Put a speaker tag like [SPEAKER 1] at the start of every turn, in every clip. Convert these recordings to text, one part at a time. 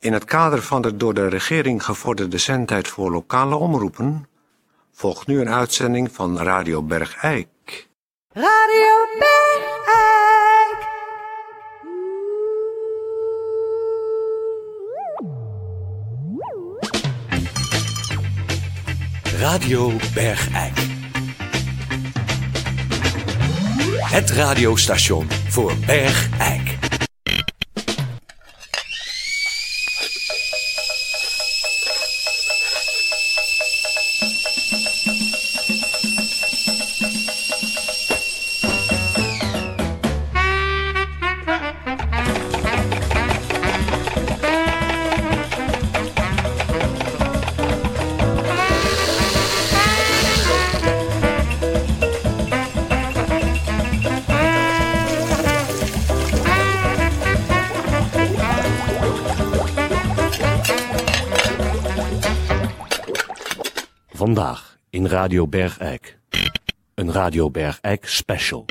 [SPEAKER 1] In het kader van de door de regering gevorderde zendtijd voor lokale omroepen volgt nu een uitzending van Radio Bergijk.
[SPEAKER 2] Radio Bergijk.
[SPEAKER 3] Radio Bergijk. Het radiostation voor Bergijk. Vandaag in Radio Bergijk. Een Radio Bergijk special.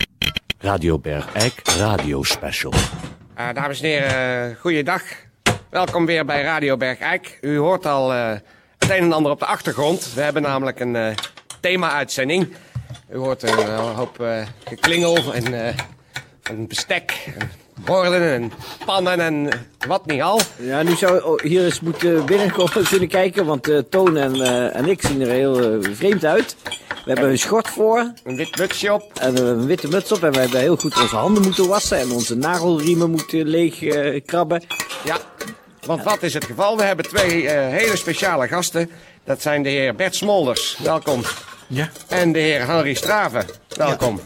[SPEAKER 3] Radio Bergijk radio special.
[SPEAKER 4] Eh, dames en heren, eh, goeiedag. Welkom weer bij Radio Bergijk. U hoort al eh, het een en ander op de achtergrond. We hebben namelijk een eh, thema-uitzending. U hoort een eh, hoop eh, geklingel en eh, een bestek, en borden en pannen en wat niet al.
[SPEAKER 5] Ja, nu zou oh, hier eens moeten binnenkomen kunnen kijken, want eh, Toon en, eh, en ik zien er heel eh, vreemd uit. We hebben een schort voor
[SPEAKER 4] Een wit mutsje op.
[SPEAKER 5] en we hebben een witte muts op en we hebben heel goed onze handen moeten wassen en onze nagelriemen moeten leeg eh, krabben.
[SPEAKER 4] Ja, want wat is het geval? We hebben twee eh, hele speciale gasten. Dat zijn de heer Bert Smolders, welkom.
[SPEAKER 6] Ja.
[SPEAKER 4] En de heer Henry Straven, welkom.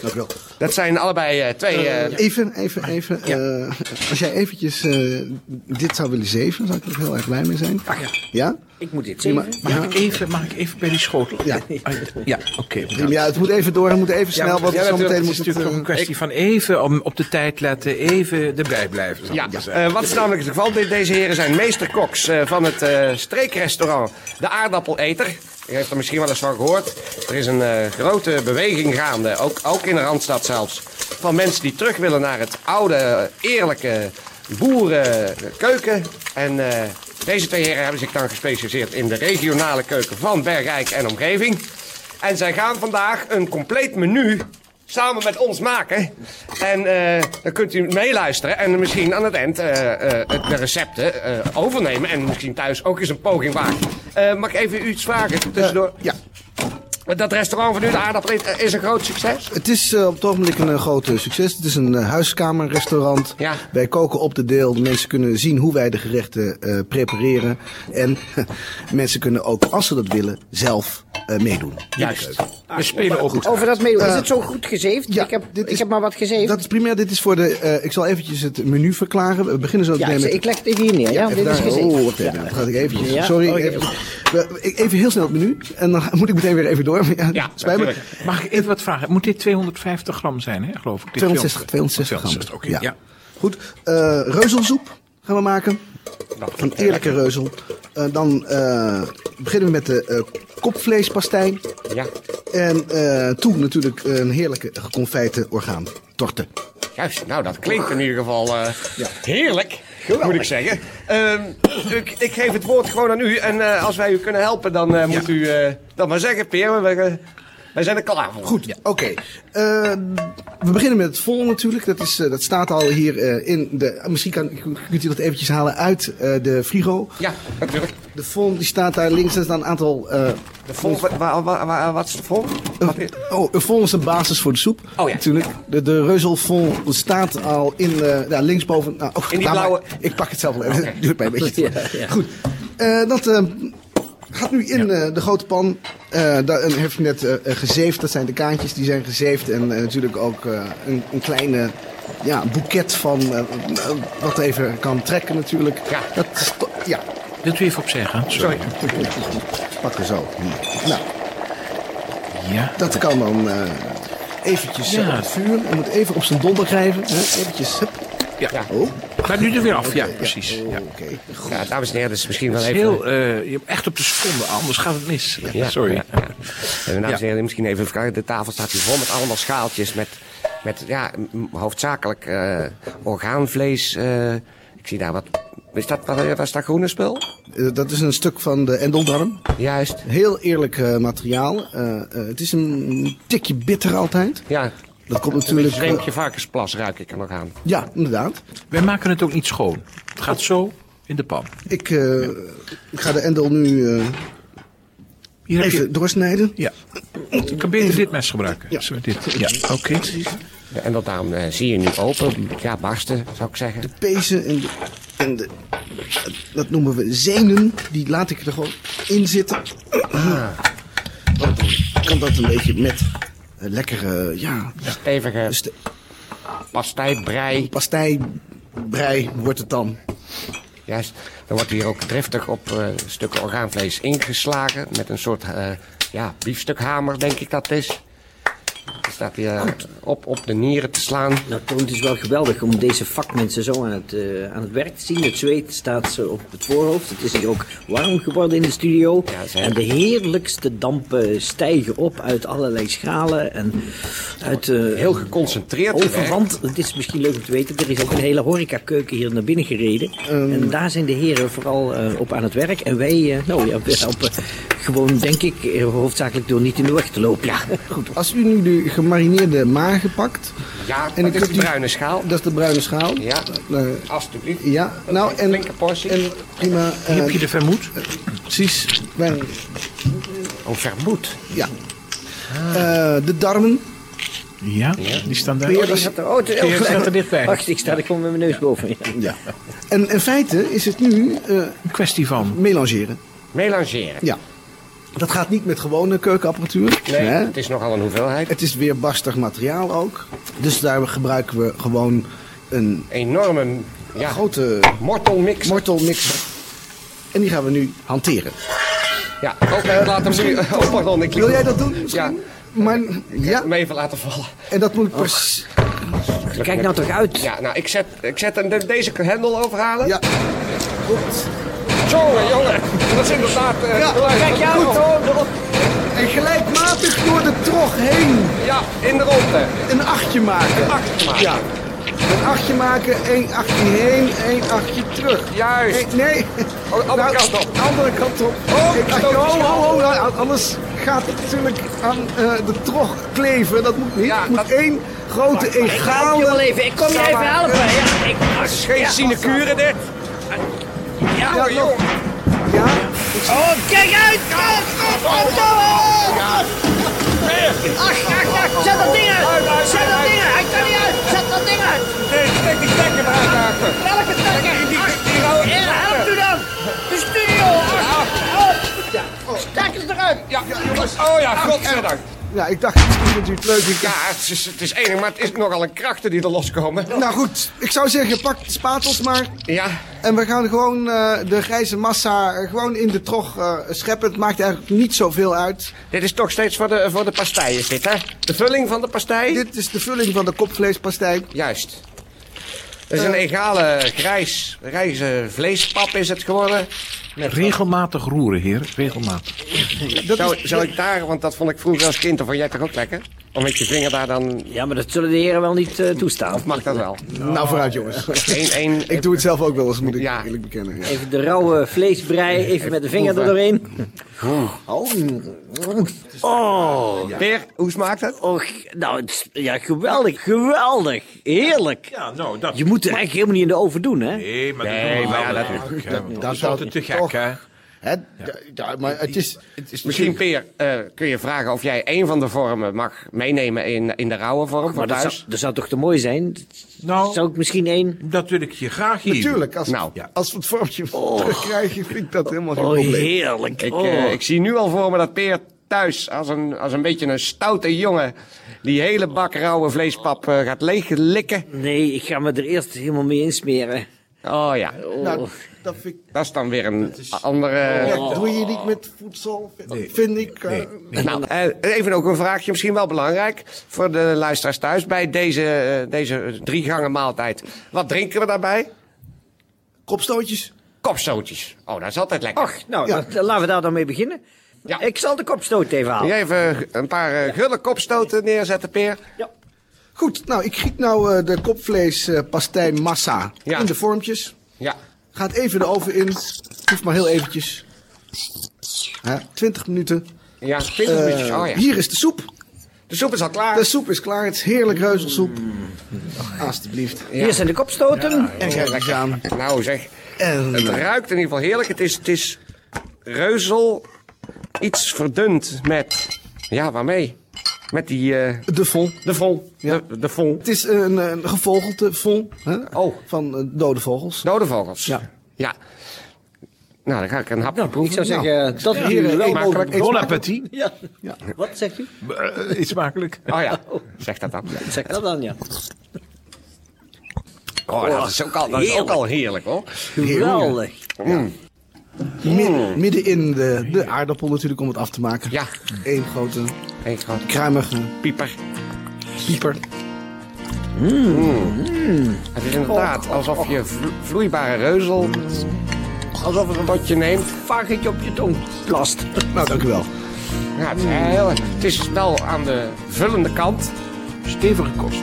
[SPEAKER 6] Dank u wel.
[SPEAKER 4] Dat zijn allebei eh, twee... eh,
[SPEAKER 6] Even, even, even. eh, als jij eventjes eh, dit zou willen zeven, zou ik er heel erg blij mee zijn.
[SPEAKER 5] Ach Ah, ja,
[SPEAKER 6] Ja?
[SPEAKER 5] ik moet dit
[SPEAKER 6] Prima.
[SPEAKER 5] zien.
[SPEAKER 7] Mag, ik even, mag ik even bij die schotel?
[SPEAKER 6] Ja.
[SPEAKER 7] Ah, Ja, oké.
[SPEAKER 6] Prima.
[SPEAKER 7] bedankt.
[SPEAKER 6] Ja, het moet even door, het moet even snel, want
[SPEAKER 7] Ja,
[SPEAKER 6] zo
[SPEAKER 7] natuurlijk,
[SPEAKER 6] meteen
[SPEAKER 7] het
[SPEAKER 6] moet
[SPEAKER 7] is
[SPEAKER 6] het...
[SPEAKER 7] natuurlijk ook een
[SPEAKER 6] eh,
[SPEAKER 7] kwestie van even om op de tijd letten, even erbij blijven. zal ik
[SPEAKER 4] Ja,
[SPEAKER 7] maar zeggen.
[SPEAKER 4] eh, wat is namelijk het geval? De- deze heren zijn meesterkoks eh, van het eh, streekrestaurant De Aardappeleter. U heeft er misschien wel eens van gehoord. Er is een eh, grote beweging gaande, ook, ook in de Randstad zelfs. Van mensen die terug willen naar het oude, eerlijke boerenkeuken. En eh, deze twee heren hebben zich dan gespecialiseerd in de regionale keuken van Bergrijk en omgeving. En zij gaan vandaag een compleet menu samen met ons maken. En eh, dan kunt u meeluisteren en misschien aan het eind eh, eh, het- de recepten eh, overnemen. En misschien thuis ook eens een poging wagen. Eh, mag ik even u iets vragen tussendoor?
[SPEAKER 6] ja,
[SPEAKER 4] Want Dat restaurant van u, de aardappel, eh, is een groot succes.
[SPEAKER 6] het is eh, op het ogenblik een eh, groot eh, succes. Het is een eh, huiskamerrestaurant.
[SPEAKER 4] Ja.
[SPEAKER 6] Wij koken op de deel. De mensen kunnen zien hoe wij de gerechten eh, prepareren. En mensen kunnen ook, als ze dat willen, zelf eh, meedoen.
[SPEAKER 4] Juist. We spelen ook goed.
[SPEAKER 5] Over dat meedoen, is het zo goed gezeefd?
[SPEAKER 6] ja,
[SPEAKER 5] ik heb,
[SPEAKER 6] dit
[SPEAKER 5] ik
[SPEAKER 6] is-
[SPEAKER 5] heb maar wat gezeefd.
[SPEAKER 6] Dat is primair. Dit is voor de... eh, ik zal eventjes het menu verklaren. We beginnen zo
[SPEAKER 5] ja,
[SPEAKER 6] meteen
[SPEAKER 5] ik,
[SPEAKER 6] met...
[SPEAKER 5] ik leg het even hier neer, ja,
[SPEAKER 6] Even
[SPEAKER 5] dit is
[SPEAKER 6] daar-
[SPEAKER 5] gezeefd.
[SPEAKER 6] Oh, wacht even. Dan Gaat ik eventjes.
[SPEAKER 5] Ja?
[SPEAKER 6] Sorry.
[SPEAKER 5] Oh, ja.
[SPEAKER 6] even, we- ik- even heel snel het menu. En dan moet ik meteen weer even door. Maar Ja,
[SPEAKER 4] Ja,
[SPEAKER 6] spijt me.
[SPEAKER 4] natuurlijk.
[SPEAKER 7] Mag ik even wat vragen? Moet dit 250 gram zijn, hè, geloof ik? Dit
[SPEAKER 6] 260,
[SPEAKER 7] 200.
[SPEAKER 6] 260 gram.
[SPEAKER 7] Oké, ja.
[SPEAKER 6] Goed. eh, reuzelsoep gaan we maken.
[SPEAKER 7] Nou,
[SPEAKER 6] Een eerlijke reuzel. Eh, dan eh, beginnen we met de eh, kopvleespastei.
[SPEAKER 4] Ja,
[SPEAKER 6] En eh toe natuurlijk een heerlijke geconfijte orgaantorte.
[SPEAKER 4] juist. Nou, dat klinkt in ieder geval eh, heerlijk. Moet ik zeggen. Ehm, ik, ik geef het woord gewoon aan u. En eh, als wij u kunnen helpen, dan eh, moet u eh, dat maar zeggen, Peer. We, we- wij zijn er klaar voor.
[SPEAKER 6] Goed, oké. Eh, we beginnen met het vol natuurlijk. Dat, is, eh, dat staat al hier eh, in de... Misschien kan, kunt u dat eventjes halen uit eh, de frigo.
[SPEAKER 4] Ja, natuurlijk.
[SPEAKER 6] De fond die staat daar links. Er staan een aantal. eh,
[SPEAKER 4] De vol, Eh, wa- wa- wa- wa- wat is de vol? Wat is-
[SPEAKER 6] oh, een fond is de basis voor de soep.
[SPEAKER 4] Oh ja.
[SPEAKER 6] Natuurlijk. De, de reuzelfond staat al in. eh ja, linksboven. Nou, oh,
[SPEAKER 4] In die
[SPEAKER 6] laat maar.
[SPEAKER 4] blauwe-
[SPEAKER 6] ik pak het zelf wel even. Duurt mij een beetje. Goed. Eh, dat eh, gaat nu in eh, de grote pan. Eh daar een- heeft u net eh, eh, gezeefd. Dat zijn de kaantjes die zijn gezeefd. En eh, natuurlijk ook eh, een, een kleine. Ja, boeket van eh, eh, wat even kan trekken natuurlijk.
[SPEAKER 4] Ja.
[SPEAKER 6] Dat sto- ja,
[SPEAKER 7] Wilt u even opzij gaan? Sorry.
[SPEAKER 6] pakken zo. Nou,
[SPEAKER 7] Ja.
[SPEAKER 6] Dat kan dan eh, eventjes zo
[SPEAKER 7] Ja.
[SPEAKER 6] op het vuur. Je moet even op zijn donder grijven. Hè? Eventjes. hup.
[SPEAKER 7] ja.
[SPEAKER 6] Oh,
[SPEAKER 7] Maar nu er weer af. Ja, precies.
[SPEAKER 6] oh,
[SPEAKER 7] Ja.
[SPEAKER 6] Oké.
[SPEAKER 4] Ja, dames en heren, dat is misschien wel
[SPEAKER 7] Het is
[SPEAKER 4] even.
[SPEAKER 7] Heel, eh, je- echt op de seconde, anders gaat het mis.
[SPEAKER 4] Ja,
[SPEAKER 7] Sorry.
[SPEAKER 4] ja, ja. Eh, Dames en heren, misschien even vragen. De tafel staat hier vol met allemaal schaaltjes. Met, met ja, m- hoofdzakelijk eh, orgaanvlees. eh, ik zie daar wat Is dat, wat wat is dat groene spul?
[SPEAKER 6] Eh, dat is een stuk van de endeldarm.
[SPEAKER 4] Juist.
[SPEAKER 6] Heel eerlijk eh, materiaal. Eh, eh, het is een tikje bitter altijd.
[SPEAKER 4] Ja.
[SPEAKER 6] Dat komt
[SPEAKER 4] Een
[SPEAKER 6] natuurlijk... eh,
[SPEAKER 4] vreemdje varkensplas ruik ik er nog aan.
[SPEAKER 6] ja, inderdaad.
[SPEAKER 7] Wij maken het ook niet schoon. Het gaat zo in de pan.
[SPEAKER 6] Ik, eh, ik ga de endel nu eh,
[SPEAKER 7] Hier heb je...
[SPEAKER 6] even doorsnijden.
[SPEAKER 7] Ja. Ik kan beter dit mes gebruiken.
[SPEAKER 6] Ja.
[SPEAKER 7] Zo, dit. ja. Oké.
[SPEAKER 4] Ja, En dat daarom eh, zie je nu open. Ja, barsten, zou ik zeggen.
[SPEAKER 6] Pezen en de... En de dat noemen we zenen. Die laat ik er gewoon in zitten.
[SPEAKER 4] Ah.
[SPEAKER 6] Want dan kan dat een beetje met eh, lekkere... Ja, Dus
[SPEAKER 4] Stevige
[SPEAKER 6] ste-
[SPEAKER 4] pastijbrei.
[SPEAKER 6] pasteibrei wordt het dan.
[SPEAKER 4] Juist. Dan wordt hier ook driftig op eh, stukken orgaanvlees ingeslagen. Met een soort eh ja, biefstukhamer, denk ik dat is. Dan staat hij eh, op, op de nieren te slaan.
[SPEAKER 5] Nou, Toon, het is wel geweldig om deze vakmensen zo aan het, eh, aan het werk te zien. Het zweet staat ze op het voorhoofd. Het is hier ook warm geworden in de studio.
[SPEAKER 4] Ja, zeker.
[SPEAKER 5] en de heerlijkste dampen stijgen op uit allerlei schalen. En uit, eh,
[SPEAKER 4] Heel geconcentreerd
[SPEAKER 6] Oh,
[SPEAKER 4] gewerkt.
[SPEAKER 5] Overwand, het is misschien leuk om te weten, er is ook een hele horecakeuken hier naar binnen gereden. En daar zijn de heren vooral eh, op aan het werk. En wij, eh, nou ja, we helpen gewoon, denk ik, eh, hoofdzakelijk door niet in de weg te lopen. Ja, goed.
[SPEAKER 6] Als u nu de gemarineerde magen pakt...
[SPEAKER 4] Ja,
[SPEAKER 6] En
[SPEAKER 4] en
[SPEAKER 6] ik
[SPEAKER 4] dat is
[SPEAKER 6] heb
[SPEAKER 4] de
[SPEAKER 6] die-
[SPEAKER 4] bruine schaal.
[SPEAKER 6] Dat is de bruine schaal.
[SPEAKER 4] Ja,
[SPEAKER 6] Eh,
[SPEAKER 4] alstublieft.
[SPEAKER 6] ja, nou en...
[SPEAKER 4] Flinke portie.
[SPEAKER 6] En prima, eh,
[SPEAKER 7] Heb je de vermoed?
[SPEAKER 6] precies. Wij-
[SPEAKER 4] Oh, vermoed.
[SPEAKER 6] ja. Eh, de darmen.
[SPEAKER 7] Ja, die staan daar.
[SPEAKER 6] Peer,
[SPEAKER 7] Oh,
[SPEAKER 6] dat is-
[SPEAKER 5] Oh, het is heel
[SPEAKER 7] die staat er dichtbij.
[SPEAKER 5] Wacht, ik sta er gewoon met mijn neus boven. Ja.
[SPEAKER 6] ja. En in feite is het nu eh
[SPEAKER 7] Een kwestie van...
[SPEAKER 6] melangeren.
[SPEAKER 4] Melangeren.
[SPEAKER 6] Ja. Dat gaat niet met gewone keukenapparatuur.
[SPEAKER 4] Nee,
[SPEAKER 6] hè?
[SPEAKER 4] het is nogal een hoeveelheid.
[SPEAKER 6] Het is weer barstig materiaal ook. Dus daar gebruiken we gewoon een
[SPEAKER 4] Enorme ja,
[SPEAKER 6] grote
[SPEAKER 4] mortelmix.
[SPEAKER 6] mortelmixer. En die gaan we nu hanteren.
[SPEAKER 4] ja, ook laat hem nu... Oh, pardon, ik
[SPEAKER 6] Wil jij dat doen?
[SPEAKER 4] Ja,
[SPEAKER 6] Maar, ja,
[SPEAKER 4] hem even laten vallen.
[SPEAKER 6] en dat
[SPEAKER 4] Oh.
[SPEAKER 6] moet ik precies...
[SPEAKER 5] Kijk nou toch uit.
[SPEAKER 4] Ja, nou, ik zet, ik zet hem de- deze hendel overhalen.
[SPEAKER 6] Ja, klopt.
[SPEAKER 4] Jongen, jongen. Dat is inderdaad... eh,
[SPEAKER 6] Ja,
[SPEAKER 4] geluid.
[SPEAKER 6] kijk jou,
[SPEAKER 4] Goed.
[SPEAKER 6] En gelijkmatig door de trog heen
[SPEAKER 4] Ja, in de ronde.
[SPEAKER 6] een achtje maken. Een
[SPEAKER 4] achtje maken.
[SPEAKER 6] Ja. Een achtje maken, één achtje heen, één achtje terug.
[SPEAKER 4] Juist.
[SPEAKER 6] Nee, nee. Nou,
[SPEAKER 4] Oh, de andere kant op.
[SPEAKER 6] Andere kant op.
[SPEAKER 4] Oh,
[SPEAKER 6] Eén
[SPEAKER 4] ik
[SPEAKER 6] achtje-
[SPEAKER 4] stoot
[SPEAKER 6] oh,
[SPEAKER 4] de
[SPEAKER 6] oh,
[SPEAKER 4] schaal.
[SPEAKER 6] oh, nou, anders gaat het natuurlijk aan eh, de trog kleven. Dat moet niet.
[SPEAKER 4] Ja,
[SPEAKER 6] het moet
[SPEAKER 4] dat-
[SPEAKER 6] één grote
[SPEAKER 5] Help je wel
[SPEAKER 6] egale...
[SPEAKER 5] even, ik kom je even helpen. Ja, ik,
[SPEAKER 4] Het is geen sinecure dit. Ja,
[SPEAKER 6] Ja,
[SPEAKER 4] jongen,
[SPEAKER 6] toch.
[SPEAKER 4] jongen.
[SPEAKER 6] Ja,
[SPEAKER 5] oh, kijk uit! Oh, oh, oh, oh. Ach, ach, ach, zet dat ding uit!
[SPEAKER 4] Uit, uit,
[SPEAKER 5] Zet dat
[SPEAKER 4] uit,
[SPEAKER 5] ding uit! Hij kan niet uit! Zet dat ding uit!
[SPEAKER 4] Nee, Eh, Steek die stekker maar uit, Arthur.
[SPEAKER 5] Welke trekker?
[SPEAKER 4] Die- die-
[SPEAKER 5] Ach,
[SPEAKER 4] die rode
[SPEAKER 5] eh, Help
[SPEAKER 4] trekker.
[SPEAKER 5] u dan! De studio! Ach, help! Stekkers eruit!
[SPEAKER 4] Ja, jongens. Oh ja, godzijdank.
[SPEAKER 6] ja, ik dacht, misschien vindt u het leuk. Ik-
[SPEAKER 4] Ja, het is, het is enig, maar het is nogal een krachten die er loskomen.
[SPEAKER 6] Nou goed, ik zou zeggen, pak de spatels maar.
[SPEAKER 4] Ja,
[SPEAKER 6] En we gaan gewoon eh, de grijze massa eh, gewoon in de trog eh, scheppen. Het maakt eigenlijk niet zoveel uit.
[SPEAKER 4] dit is toch steeds voor de, voor de pastei, is dit, hè? De vulling van de pastei?
[SPEAKER 6] Dit is de vulling van de kopvleespastei.
[SPEAKER 4] Juist. Het
[SPEAKER 6] Eh.
[SPEAKER 4] is een egale grijs, grijze vleespap is het geworden.
[SPEAKER 7] Regelmatig roeren, heer. Regelmatig.
[SPEAKER 4] Zou, zou ik daar, want dat vond ik vroeger als kind, of vond jij toch ook lekker? Om met je vinger daar dan,
[SPEAKER 5] Ja, maar dat zullen de heren wel niet eh, toestaan.
[SPEAKER 4] mag dat wel?
[SPEAKER 6] Nou, vooruit jongens.
[SPEAKER 4] Eén, één,
[SPEAKER 6] Ik doe het zelf ook wel eens, moet ik
[SPEAKER 4] Ja.
[SPEAKER 6] eerlijk bekennen. Ja.
[SPEAKER 5] Even de rauwe vleesbrei, even met de vinger er doorheen. Oh, oh,
[SPEAKER 4] Peer, hoe smaakt het?
[SPEAKER 5] och, nou, het is- ja, geweldig, geweldig, heerlijk.
[SPEAKER 7] Ja, nou, dat...
[SPEAKER 5] Je moet er eigenlijk helemaal niet in de oven doen, hè?
[SPEAKER 7] Nee, maar dat
[SPEAKER 4] Nee,
[SPEAKER 7] doen we
[SPEAKER 4] maar
[SPEAKER 7] wel
[SPEAKER 4] ja,
[SPEAKER 7] natuurlijk, hè, want
[SPEAKER 6] dat
[SPEAKER 7] Dat is
[SPEAKER 6] zou
[SPEAKER 7] altijd te
[SPEAKER 6] ik
[SPEAKER 7] gek,
[SPEAKER 6] toch-
[SPEAKER 7] hè?
[SPEAKER 6] Hè? Ja, ja, maar het is...
[SPEAKER 4] Misschien, Peer, eh, kun je vragen of jij één van de vormen mag meenemen in, in de rauwe vorm
[SPEAKER 5] Maar
[SPEAKER 4] voor
[SPEAKER 5] dat zou,
[SPEAKER 4] thuis?
[SPEAKER 5] dat zou toch te mooi zijn?
[SPEAKER 7] Nou.
[SPEAKER 5] Zou ik misschien één...
[SPEAKER 7] Dat wil ik je graag hier.
[SPEAKER 6] Tuurlijk, als,
[SPEAKER 4] Nou, Oh.
[SPEAKER 7] ja.
[SPEAKER 6] als we het vormtje terugkrijgen, vind ik dat helemaal geen
[SPEAKER 5] Oh,
[SPEAKER 6] probleem.
[SPEAKER 5] heerlijk.
[SPEAKER 4] Ik,
[SPEAKER 5] oh.
[SPEAKER 4] eh, ik zie nu al voor me dat Peer thuis als een, als een beetje een stoute jongen die hele bak rauwe vleespap eh, gaat leeglikken.
[SPEAKER 5] Nee, ik ga me er eerst helemaal mee insmeren.
[SPEAKER 4] Oh ja,
[SPEAKER 6] Nou, dat vind ik...
[SPEAKER 4] dat is dan weer een andere...
[SPEAKER 6] Ja, doe je niet met voedsel, vind, vind ik. eh,
[SPEAKER 4] Nou, eh, even ook een vraagje, misschien wel belangrijk voor de luisteraars thuis bij deze, eh, deze drie gangen maaltijd. Wat drinken we daarbij?
[SPEAKER 6] Kopstootjes.
[SPEAKER 4] Kopstootjes. Oh, dat is altijd lekker.
[SPEAKER 5] Ach, nou,
[SPEAKER 6] Ja.
[SPEAKER 5] dat- laten we daar dan mee beginnen.
[SPEAKER 4] Ja.
[SPEAKER 5] Ik zal de kopstoot even halen.
[SPEAKER 4] Wil jij even een paar eh, gulle kopstoten neerzetten, Peer?
[SPEAKER 5] Ja.
[SPEAKER 6] Goed, nou, ik giet nou eh, de kopvleespastei massa
[SPEAKER 4] Ja.
[SPEAKER 6] in de vormpjes.
[SPEAKER 4] Ja.
[SPEAKER 6] Gaat even de oven in. Hoeft maar heel eventjes. Hè, 20 minuten.
[SPEAKER 4] Ja, 20
[SPEAKER 6] Eh,
[SPEAKER 4] minuutjes. Oh ja.
[SPEAKER 6] Hier Dus- is de soep.
[SPEAKER 4] De soep is al klaar.
[SPEAKER 6] De soep is klaar. Het is heerlijk reuzelsoep. Alsjeblieft.
[SPEAKER 5] Hier zijn de kopstoten.
[SPEAKER 6] En kijk eens aan.
[SPEAKER 4] Nou zeg,
[SPEAKER 6] En,
[SPEAKER 4] het ruikt in ieder geval heerlijk. Het is, het is reuzel iets verdund met... Ja, waarmee? Met die... eh,
[SPEAKER 6] de vol.
[SPEAKER 4] de vol.
[SPEAKER 6] Ja.
[SPEAKER 4] De, de vol.
[SPEAKER 6] Het is een, een gevogelte vol hè?
[SPEAKER 4] Oh.
[SPEAKER 6] van eh, dode vogels.
[SPEAKER 4] Dode vogels.
[SPEAKER 6] Ja.
[SPEAKER 4] Ja. Nou, dan ga ik een hapje
[SPEAKER 5] Nou, ik
[SPEAKER 4] proeven.
[SPEAKER 5] zou
[SPEAKER 4] Nou,
[SPEAKER 5] zeggen, dat
[SPEAKER 6] Ja,
[SPEAKER 5] jullie
[SPEAKER 6] heren,
[SPEAKER 5] wel
[SPEAKER 6] eet
[SPEAKER 5] mogen-
[SPEAKER 6] makkelijk, eet
[SPEAKER 7] Bon
[SPEAKER 6] makkelijk.
[SPEAKER 7] appétit.
[SPEAKER 5] Ja. Wat zegt u?
[SPEAKER 7] Eh, Iets makkelijk.
[SPEAKER 4] Oh ja, zeg dat dan.
[SPEAKER 5] Zeg dat dan, ja.
[SPEAKER 4] Oh, dat is ook al, dat is ook al heerlijk hoor.
[SPEAKER 5] Geweldig.
[SPEAKER 6] Mid- midden in de, de aardappel natuurlijk om het af te maken.
[SPEAKER 4] Ja.
[SPEAKER 6] Eén grote
[SPEAKER 4] Hey, gewoon
[SPEAKER 6] kruimige
[SPEAKER 4] pieper.
[SPEAKER 6] pieper.
[SPEAKER 4] Mm. Het is inderdaad alsof je vlo- vloeibare reuzel... Alsof het een potje neemt.
[SPEAKER 5] Varkentje op je tong. Plast.
[SPEAKER 6] Nou, dank u wel.
[SPEAKER 4] Ja, het, is eh, heel, het is wel aan de vullende kant.
[SPEAKER 7] Stevige kost.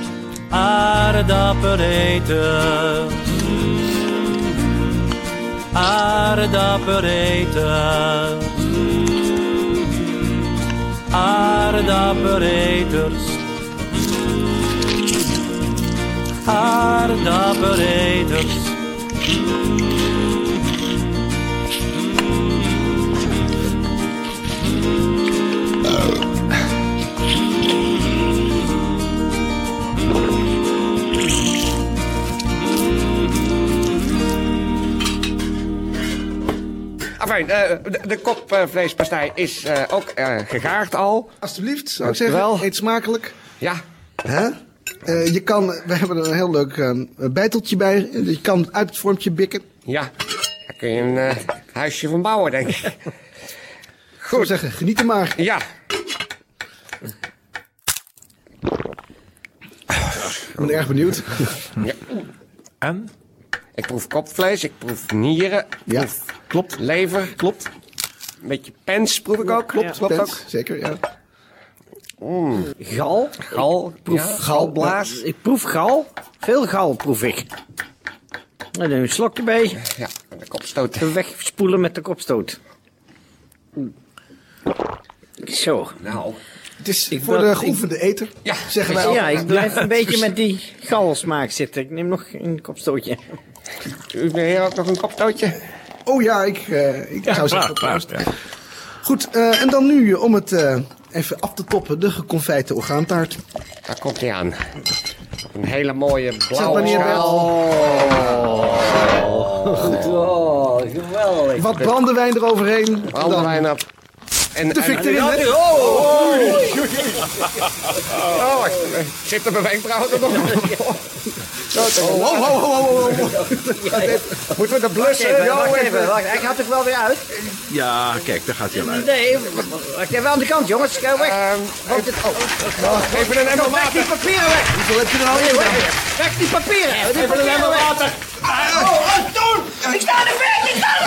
[SPEAKER 8] Aardappelen eten. Mm. Aardappelen eten. Mm. Aardappeleters. Mm. Aardappeleters.
[SPEAKER 4] Enfin, eh, de, de kop eh, vleespastei is eh, ook eh, gegaard al.
[SPEAKER 6] Alsjeblieft, zou
[SPEAKER 4] Dank u
[SPEAKER 6] ik zeggen.
[SPEAKER 4] wel.
[SPEAKER 6] Eet smakelijk.
[SPEAKER 4] Ja,
[SPEAKER 6] Hè? Eh, je kan, we hebben er een heel leuk eh, bijteltje bij. Je kan het uit het vormpje bikken.
[SPEAKER 4] ja. Daar kun je een eh, huisje van bouwen, denk ik.
[SPEAKER 6] Goed. zeggen, geniet er maar.
[SPEAKER 4] Ja,
[SPEAKER 6] Ik ben erg benieuwd.
[SPEAKER 7] En?
[SPEAKER 4] ik proef kopvlees, ik proef nieren, ik
[SPEAKER 6] Ja,
[SPEAKER 4] proef
[SPEAKER 6] klopt.
[SPEAKER 4] lever.
[SPEAKER 6] Klopt.
[SPEAKER 4] Een beetje pens proef ik ook.
[SPEAKER 6] Klopt, klopt
[SPEAKER 4] Pens.
[SPEAKER 6] ook. Zeker, ja.
[SPEAKER 5] Gal.
[SPEAKER 4] Gal, proef,
[SPEAKER 5] ja.
[SPEAKER 4] galblaas.
[SPEAKER 5] Ik proef gal. Veel gal proef ik. En een slok erbij.
[SPEAKER 4] Ja, en de kopstoot.
[SPEAKER 5] Wegspoelen met de kopstoot. Zo.
[SPEAKER 4] Nou,
[SPEAKER 6] Het is
[SPEAKER 5] Ik
[SPEAKER 6] voor
[SPEAKER 5] wil-
[SPEAKER 6] de geoefende eter,
[SPEAKER 4] Ja,
[SPEAKER 6] zeggen wij
[SPEAKER 5] Ja,
[SPEAKER 6] al.
[SPEAKER 5] ik blijf een beetje met die galsmaak zitten. Ik neem nog een kopstootje.
[SPEAKER 4] u meneer ook nog een kopstootje?
[SPEAKER 6] Oh ja, ik, eh, ik zou zeggen...
[SPEAKER 7] Proost.
[SPEAKER 6] Goed, eh, en dan nu eh, om het eh, even af te toppen, de geconfijte orgaantaart.
[SPEAKER 4] Daar komt hij aan. Een hele mooie blauwe
[SPEAKER 6] wanneer
[SPEAKER 4] schaal.
[SPEAKER 5] Oh, geweldig.
[SPEAKER 6] Wat brandewijn eroverheen. en dan
[SPEAKER 4] Brandewijn op. En,
[SPEAKER 6] De fik erin, hè?
[SPEAKER 4] Oh, eh, zit er mijn wenkbrauw er nog?
[SPEAKER 6] Oh, ho, ho, ho, ho, ho.
[SPEAKER 4] Moeten we de blussen?
[SPEAKER 5] Even,
[SPEAKER 4] Ja,
[SPEAKER 5] wacht
[SPEAKER 4] even.
[SPEAKER 5] even, wacht. Hij gaat er wel weer uit.
[SPEAKER 7] Ja, kijk, daar gaat hij al uit.
[SPEAKER 5] Nee, wacht even aan de kant, jongens. Ga weg.
[SPEAKER 4] Ehm,
[SPEAKER 5] Want het-
[SPEAKER 4] Even een emmer
[SPEAKER 5] Weg die
[SPEAKER 4] water.
[SPEAKER 5] papieren weg.
[SPEAKER 6] Hoeveel heb je er al in dan?
[SPEAKER 5] Weg die papieren. Die papieren weg.
[SPEAKER 2] Ik sta er weg! Ik sta